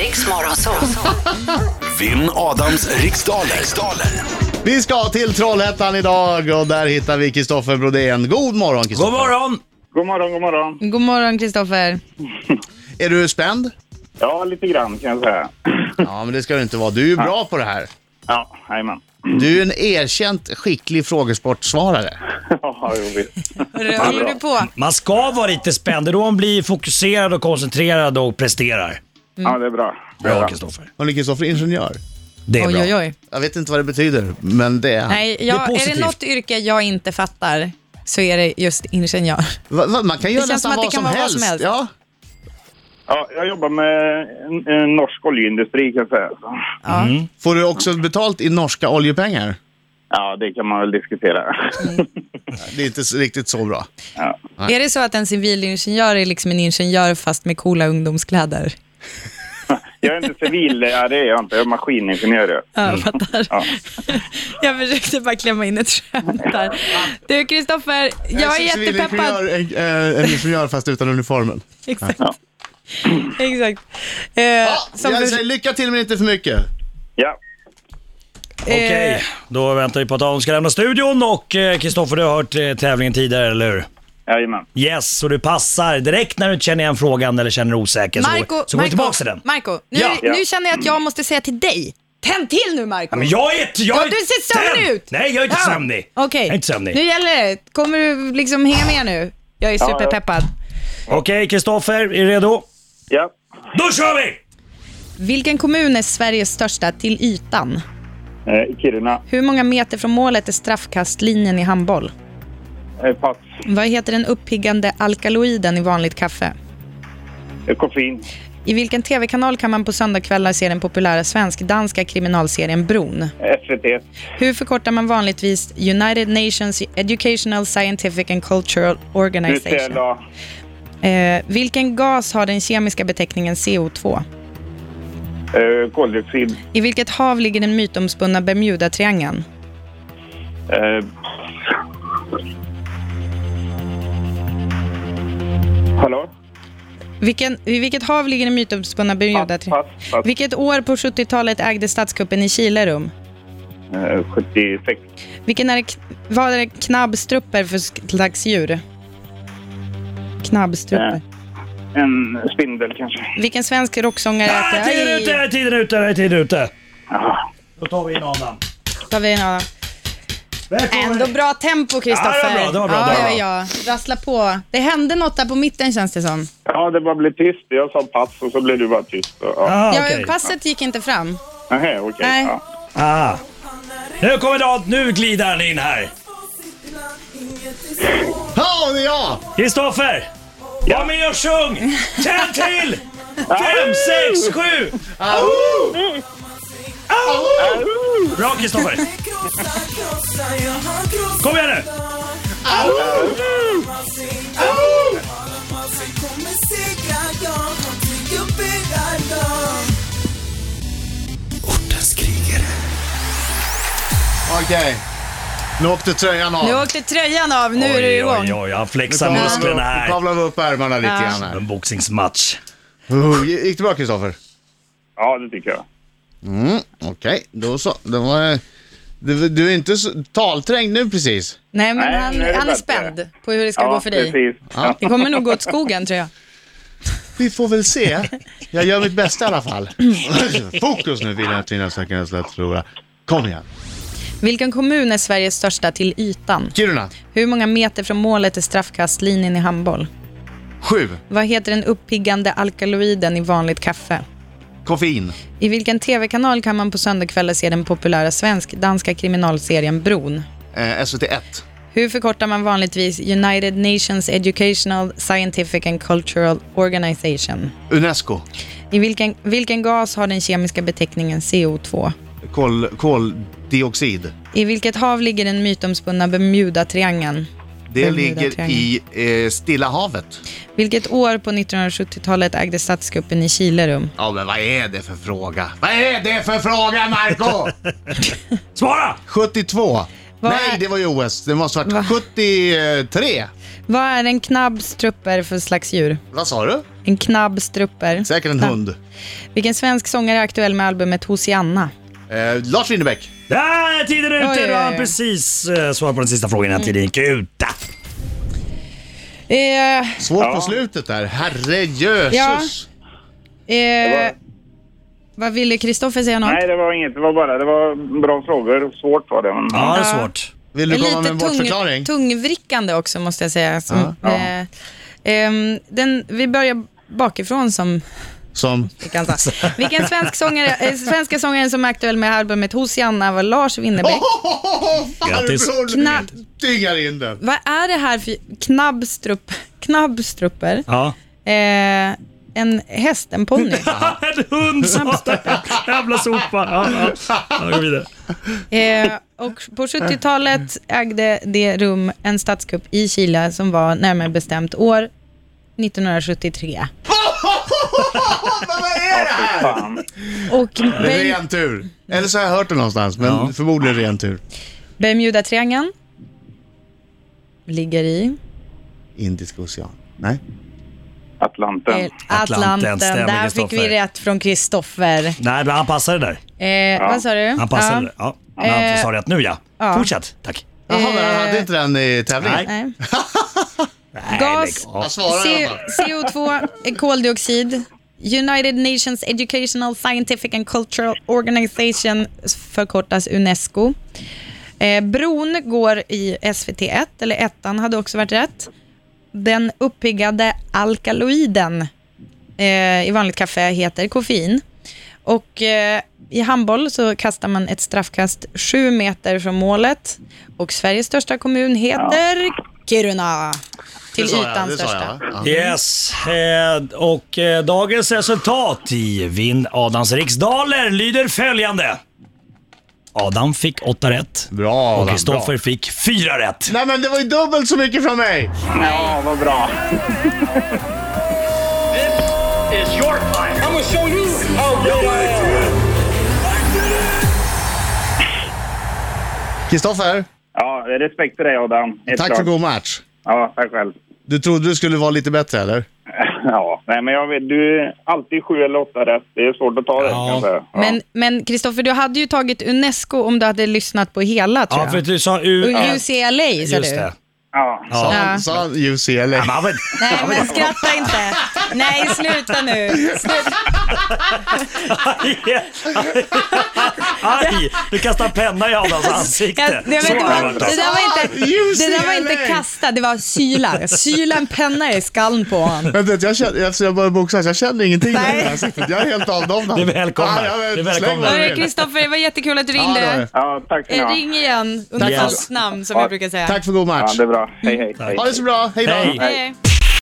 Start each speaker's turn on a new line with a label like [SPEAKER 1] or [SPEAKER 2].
[SPEAKER 1] Riks Morgonzoo.
[SPEAKER 2] Vinn Adams riksdaler. riksdaler.
[SPEAKER 3] Vi ska till Trollhättan idag och där hittar vi Kristoffer Brodén. God morgon
[SPEAKER 4] God
[SPEAKER 3] Kristoffer!
[SPEAKER 4] morgon!
[SPEAKER 5] God morgon, god morgon.
[SPEAKER 6] God morgon Kristoffer.
[SPEAKER 3] Är du spänd?
[SPEAKER 5] Ja, lite grann kan jag säga.
[SPEAKER 3] Ja, men det ska du inte vara. Du är ju bra på det här.
[SPEAKER 5] Ja, jajamän.
[SPEAKER 3] Du är en erkänt skicklig frågesportsvarare.
[SPEAKER 5] Ja, jo visst.
[SPEAKER 6] Hur håller du på?
[SPEAKER 4] Man ska vara lite spänd, det är då man blir fokuserad och koncentrerad och presterar.
[SPEAKER 5] Ja, det är bra. Det är
[SPEAKER 4] Bra
[SPEAKER 5] bra.
[SPEAKER 4] Kristoffer.
[SPEAKER 3] Hörni, Kristoffer är ingenjör.
[SPEAKER 4] Det är
[SPEAKER 6] Oj,
[SPEAKER 4] bra.
[SPEAKER 6] oj, oj.
[SPEAKER 3] Jag vet inte vad det betyder, men det är han.
[SPEAKER 6] Nej, jag,
[SPEAKER 4] Det är
[SPEAKER 6] är, det
[SPEAKER 4] positivt.
[SPEAKER 6] något yrke jag inte fattar så är det just ingenjör.
[SPEAKER 3] Va, va, man kan göra
[SPEAKER 6] känns
[SPEAKER 3] nästan
[SPEAKER 6] som att det
[SPEAKER 3] vad som,
[SPEAKER 6] kan vara vad
[SPEAKER 3] helst.
[SPEAKER 6] som helst.
[SPEAKER 3] Ja.
[SPEAKER 5] Ja, jag jobbar med en, en norsk oljeindustri kan jag säga. Så.
[SPEAKER 6] Ja.
[SPEAKER 4] Mm.
[SPEAKER 3] Får du också betalt i norska oljepengar?
[SPEAKER 5] Ja, det kan man väl diskutera.
[SPEAKER 3] Det är inte s- riktigt så bra.
[SPEAKER 6] Är det så att en civilingenjör är liksom en ingenjör fast med coola ungdomskläder?
[SPEAKER 5] Jag är inte civil, ja, det är jag inte. Jag är maskiningenjör.
[SPEAKER 6] Ja,
[SPEAKER 4] Mm.
[SPEAKER 6] jag fattar. Jag försökte bara klämma in ett skämt där. Du Kristoffer, jag är jättepeppad.
[SPEAKER 3] En, eh, en ingenjör fast utan uniformen.
[SPEAKER 6] Exakt. Exakt. Eh, som
[SPEAKER 3] jag
[SPEAKER 6] du-
[SPEAKER 3] säger, lycka till men inte för mycket.
[SPEAKER 5] Ja.
[SPEAKER 4] Okej,
[SPEAKER 6] eh,
[SPEAKER 4] då väntar vi på att Adam ska lämna studion och eh, Kristoffer du har hört eh, tävlingen tidigare, eller hur?
[SPEAKER 5] Jajamän.
[SPEAKER 4] Yes, så du passar direkt när du inte känner igen frågan eller känner dig osäker.
[SPEAKER 6] Marco,
[SPEAKER 4] så så går du
[SPEAKER 6] Marco,
[SPEAKER 4] tillbaka till den.
[SPEAKER 6] Marco nu,
[SPEAKER 4] Ja.
[SPEAKER 6] nu känner jag att jag måste säga till dig. Tänd till nu Marco.
[SPEAKER 4] Ja, men jag är inte... Jag
[SPEAKER 6] Ja,
[SPEAKER 4] är
[SPEAKER 6] du ser sömnig
[SPEAKER 4] Tänd!
[SPEAKER 6] ut.
[SPEAKER 4] Nej, jag är inte
[SPEAKER 6] Ja.
[SPEAKER 4] sömnig.
[SPEAKER 6] Okej,
[SPEAKER 4] Jag är inte sömnig.
[SPEAKER 6] nu gäller det. Kommer du liksom hänga med nu? Jag är
[SPEAKER 5] Ja, ja.
[SPEAKER 6] superpeppad.
[SPEAKER 4] Okej, Kristoffer, är du redo?
[SPEAKER 5] Ja.
[SPEAKER 4] Då kör vi!
[SPEAKER 6] Vilken kommun är Sveriges största till ytan?
[SPEAKER 5] Eh, I Kiruna.
[SPEAKER 6] Hur många meter från målet är straffkastlinjen i handboll?
[SPEAKER 5] Eh, pass.
[SPEAKER 6] Vad heter den uppiggande alkaloiden i vanligt kaffe?
[SPEAKER 5] Eh, koffein.
[SPEAKER 6] I vilken tv-kanal kan man på söndagskvällar se den populära svensk-danska kriminalserien Bron?
[SPEAKER 5] Eh, SVT.
[SPEAKER 6] Hur förkortar man vanligtvis United Nations Educational, Scientific and Cultural Organization?
[SPEAKER 5] UCLA.
[SPEAKER 6] Eh, vilken gas har den kemiska beteckningen CO2?
[SPEAKER 5] Eh, koldioxid.
[SPEAKER 6] I vilket hav ligger den mytomspunna Bermudatriangeln?
[SPEAKER 5] Eh. Hallå?
[SPEAKER 6] Vilken, I vilket hav ligger den mytomspunna Bermudatriangeln?
[SPEAKER 5] Pass, pass.
[SPEAKER 6] Vilket år på 70-talet ägde statskuppen i Chile rum?
[SPEAKER 5] Eh, 76.
[SPEAKER 6] Vilken är, det k- vad är det knabbstrupper för slags djur? Knabbstrupper.
[SPEAKER 5] En spindel kanske.
[SPEAKER 6] Vilken svensk rocksångare
[SPEAKER 4] Ah, tiden är ute,
[SPEAKER 6] äter... Aj,
[SPEAKER 4] tiden är ute, är tiden är ute.
[SPEAKER 5] Ja.
[SPEAKER 4] Då tar vi in Adam.
[SPEAKER 6] tar vi en annan.
[SPEAKER 4] Välkommen.
[SPEAKER 6] Ändå bra tempo, Kristoffer.
[SPEAKER 4] Ja, det var bra, det var bra, det var
[SPEAKER 6] ja, ja, ja. Rassla på. Det hände något där på mitten känns det som.
[SPEAKER 5] ja, det bara blev tyst. Jag sa pass och så blev du bara tyst. Ja.
[SPEAKER 4] Ah,
[SPEAKER 6] Ja,
[SPEAKER 4] okej.
[SPEAKER 6] Passet gick inte fram.
[SPEAKER 5] Nähä, okej.
[SPEAKER 6] Nej.
[SPEAKER 5] Ja.
[SPEAKER 4] Ah. Nu kommer Dan, nu glider han in här.
[SPEAKER 3] Ja, det är jag!
[SPEAKER 4] Kristoffer! Var med och sjung! Tänd till! Fem, sex, sju! Au! Bra Kristoffer! Kom igen nu!
[SPEAKER 2] Ortens krigare.
[SPEAKER 3] Okej. Nu åkte tröjan av.
[SPEAKER 6] Nu åkte tröjan av. Nu är det igång.
[SPEAKER 4] Oj, oj, oj, han
[SPEAKER 3] Nu
[SPEAKER 4] flexar
[SPEAKER 3] kavlar vi upp-
[SPEAKER 4] musklerna
[SPEAKER 3] nu
[SPEAKER 4] här.
[SPEAKER 3] kavlar vi upp ärmarna lite
[SPEAKER 6] Ja.
[SPEAKER 3] grann här.
[SPEAKER 4] En boxningsmatch.
[SPEAKER 3] Oh, gick det bra Kristoffer? Mm,
[SPEAKER 5] ja, det tycker jag.
[SPEAKER 3] Okej, då så. Det var, du, du är inte så, talträngd nu precis.
[SPEAKER 6] Nej, men
[SPEAKER 5] Nej, nu är
[SPEAKER 6] han,
[SPEAKER 5] det
[SPEAKER 6] han är
[SPEAKER 5] bättre.
[SPEAKER 6] spänd på hur det ska
[SPEAKER 5] ja,
[SPEAKER 6] gå för dig.
[SPEAKER 5] Precis. Ja.
[SPEAKER 6] Det kommer nog gå åt skogen, tror jag.
[SPEAKER 3] Vi får väl se. Jag gör mitt bästa i alla fall. Fokus nu, vill jag tvingas söka en slätt förlora. Kom igen.
[SPEAKER 6] Vilken kommun är Sveriges största till ytan?
[SPEAKER 3] Kiruna,
[SPEAKER 6] Hur många meter från målet är straffkastlinjen i handboll?
[SPEAKER 3] sju.
[SPEAKER 6] Vad heter den uppiggande alkaloiden i vanligt kaffe?
[SPEAKER 3] Koffein,
[SPEAKER 6] I vilken tv-kanal kan man på söndagskvällar se den populära svensk-danska kriminalserien Bron?
[SPEAKER 3] eh, SVT1.
[SPEAKER 6] Hur förkortar man vanligtvis United Nations Educational, Scientific and Cultural Organization?
[SPEAKER 3] Unesco,
[SPEAKER 6] I vilken, vilken gas har den kemiska beteckningen CO2?
[SPEAKER 3] Kol, koldioxid.
[SPEAKER 6] I vilket hav ligger den mytomspunna Bermudatriangeln?
[SPEAKER 3] Det
[SPEAKER 6] Bermuda
[SPEAKER 3] ligger i eh, Stilla havet.
[SPEAKER 6] Vilket år på 1970-talet ägde statskuppen i Chile rum?
[SPEAKER 3] Ja, men vad är det för fråga? Vad är det för fråga, Marco?
[SPEAKER 4] Svara!
[SPEAKER 3] 72.
[SPEAKER 6] Vad,
[SPEAKER 3] Nej, det
[SPEAKER 6] är,
[SPEAKER 3] var ju OS. Det måste varit 73.
[SPEAKER 6] vad är en knabbstrupper för slags djur?
[SPEAKER 3] Vad sa du?
[SPEAKER 6] En knabbstrupper.
[SPEAKER 3] Säkert en
[SPEAKER 6] Ja.
[SPEAKER 3] hund.
[SPEAKER 6] Vilken svensk sångare är aktuell med albumet Hosianna?
[SPEAKER 3] Eh, Lars Winnerbäck.
[SPEAKER 4] Där är tiden
[SPEAKER 6] Oj,
[SPEAKER 4] ute!
[SPEAKER 6] oj,
[SPEAKER 4] Du har
[SPEAKER 6] oj.
[SPEAKER 4] precis eh, svarat på den sista frågan innan tiden gick ut. Ah.
[SPEAKER 6] Eh,
[SPEAKER 3] Svårt på
[SPEAKER 5] Ja.
[SPEAKER 3] slutet där. Herrejösses.
[SPEAKER 6] Ja. eh,
[SPEAKER 5] var-
[SPEAKER 6] vad ville Kristoffer säga något?
[SPEAKER 5] Nej, det var inget. Det var bara det var bra frågor. Svårt var det. Men,
[SPEAKER 4] Ja, det är
[SPEAKER 6] Ja.
[SPEAKER 4] svårt.
[SPEAKER 3] Vill du komma med en bortförklaring?
[SPEAKER 6] tung, tungvrickande också måste jag säga. Som, eh, ehm, den, vi börjar bakifrån som
[SPEAKER 3] Som...
[SPEAKER 6] vi kan ta. Vilken svensk sångare, eh, svenska sångaren som är aktuell med albumet Hosianna var Lars Winnerbäck.
[SPEAKER 4] Grattis.
[SPEAKER 6] Kna-
[SPEAKER 3] Farbror! Dyngar in den.
[SPEAKER 6] Vad är det här för knabbstrupp, knabbstrupper?
[SPEAKER 4] Ja.
[SPEAKER 6] Eh, en häst, en ponny.
[SPEAKER 4] en hund sa Jävla sopa. Ja, ja. ja, vi går vidare.
[SPEAKER 6] Eh, och på 70-talet ägde det rum en statskupp i Chile som var närmare bestämt år 1973.
[SPEAKER 5] fan.
[SPEAKER 6] Och
[SPEAKER 3] Det är
[SPEAKER 6] Berm-
[SPEAKER 3] ren tur. Eller så har jag hört det någonstans, men
[SPEAKER 4] Ja.
[SPEAKER 3] förmodligen ren tur.
[SPEAKER 6] Bermudatriangeln ligger i
[SPEAKER 3] Indiska ocean. Nej.
[SPEAKER 5] Atlanten.
[SPEAKER 6] eh,
[SPEAKER 4] Atlanten,
[SPEAKER 6] Atlanten.
[SPEAKER 4] stämmer,
[SPEAKER 6] Där fick vi
[SPEAKER 4] Kristoffer.
[SPEAKER 6] rätt från Kristoffer.
[SPEAKER 4] Nej, men han passade där.
[SPEAKER 6] Eh, Vad sa du?
[SPEAKER 4] Han passade där. Ja. Men han
[SPEAKER 6] Eh,
[SPEAKER 4] sa rätt nu ja.
[SPEAKER 6] ja.
[SPEAKER 4] Fortsätt. Tack.
[SPEAKER 3] Jaha,
[SPEAKER 6] Eh.
[SPEAKER 3] men han hade inte den i tävlingen?
[SPEAKER 4] Nej.
[SPEAKER 6] Nej.
[SPEAKER 4] Nej,
[SPEAKER 6] Gas.
[SPEAKER 4] lägg av.
[SPEAKER 3] Han svarar i
[SPEAKER 6] C-
[SPEAKER 3] alla fall.
[SPEAKER 6] CO2, eh, koldioxid. United Nations Educational, Scientific and Cultural Organization förkortas UNESCO. Eh, bron går i SVT1, eller ettan hade också varit rätt. Den uppiggade alkaloiden eh, i vanligt kaffe heter koffein. Och eh, i handboll så kastar man ett straffkast sju meter från målet. Och Sveriges största kommun heter Kiruna. Till
[SPEAKER 3] Det sa
[SPEAKER 6] ytan
[SPEAKER 3] jag, det sa
[SPEAKER 6] största.
[SPEAKER 3] jag. va? Ja.
[SPEAKER 4] Yes, eh, och eh, dagens resultat i Vinn Adams riksdaler lyder följande. Adam fick åtta rätt
[SPEAKER 3] Bra
[SPEAKER 4] och
[SPEAKER 3] Adam,
[SPEAKER 4] Kristoffer
[SPEAKER 3] bra.
[SPEAKER 4] fick fyra rätt.
[SPEAKER 3] Nej men det var ju dubbelt så mycket från mig!
[SPEAKER 5] Ja, vad bra.
[SPEAKER 3] Kristoffer,
[SPEAKER 5] Ja, respekt till dig Adam. Helt
[SPEAKER 3] tack
[SPEAKER 5] klart.
[SPEAKER 3] för god match.
[SPEAKER 5] Ja, tack själv.
[SPEAKER 3] Du trodde du skulle vara lite bättre eller?
[SPEAKER 5] Ja, nej men jag vet, du är alltid sju eller åtta rätt. Det är svårt att ta det
[SPEAKER 4] Ja.
[SPEAKER 5] kan jag säga. Ja.
[SPEAKER 6] Men- Men Kristoffer, du hade ju tagit UNESCO om du hade lyssnat på hela tror
[SPEAKER 4] Ja, för
[SPEAKER 6] jag.
[SPEAKER 4] du sa U...
[SPEAKER 6] Och UCLA sa
[SPEAKER 4] Just
[SPEAKER 6] du.
[SPEAKER 4] det.
[SPEAKER 5] ja.
[SPEAKER 3] Sa
[SPEAKER 4] Ja.
[SPEAKER 3] han- Sa han UCLA?
[SPEAKER 4] Men han var-
[SPEAKER 6] Nej, men skratta inte. Nej, sluta nu. Sluta.
[SPEAKER 4] Aj! Du kastar penna i Adams
[SPEAKER 6] Jag,
[SPEAKER 4] ansikte.
[SPEAKER 6] jag vet
[SPEAKER 4] Så
[SPEAKER 6] inte
[SPEAKER 4] har det
[SPEAKER 6] vad, det,
[SPEAKER 4] varit, alltså.
[SPEAKER 6] där var inte, det där var inte
[SPEAKER 3] UCLA.
[SPEAKER 6] kasta, det var syla. Jag Syla en penna i skallen på honom.
[SPEAKER 3] Vänta, jag känner, alltså jag börjar boxa, jag känner ingenting
[SPEAKER 6] Nej.
[SPEAKER 3] i det här ansiktet. Jag är helt avdomnad.
[SPEAKER 4] Du är välkommen.
[SPEAKER 3] Ja, jag vet,
[SPEAKER 4] Du är välkommen.
[SPEAKER 3] släng vad
[SPEAKER 6] Hörru,
[SPEAKER 3] du vill.
[SPEAKER 6] Kristoffer, det var jättekul att du
[SPEAKER 3] Ja, det var det.
[SPEAKER 6] ringde.
[SPEAKER 5] ja, tack ska ni
[SPEAKER 6] Eh,
[SPEAKER 5] ha.
[SPEAKER 6] Ring igen under
[SPEAKER 4] Tack.
[SPEAKER 6] falskt namn som jag brukar säga.
[SPEAKER 3] Tack för god
[SPEAKER 5] Ja,
[SPEAKER 3] match.
[SPEAKER 5] det är bra. Hej, hej. hej.
[SPEAKER 3] Ha det så bra, hej då.
[SPEAKER 4] Hej.
[SPEAKER 6] Hej.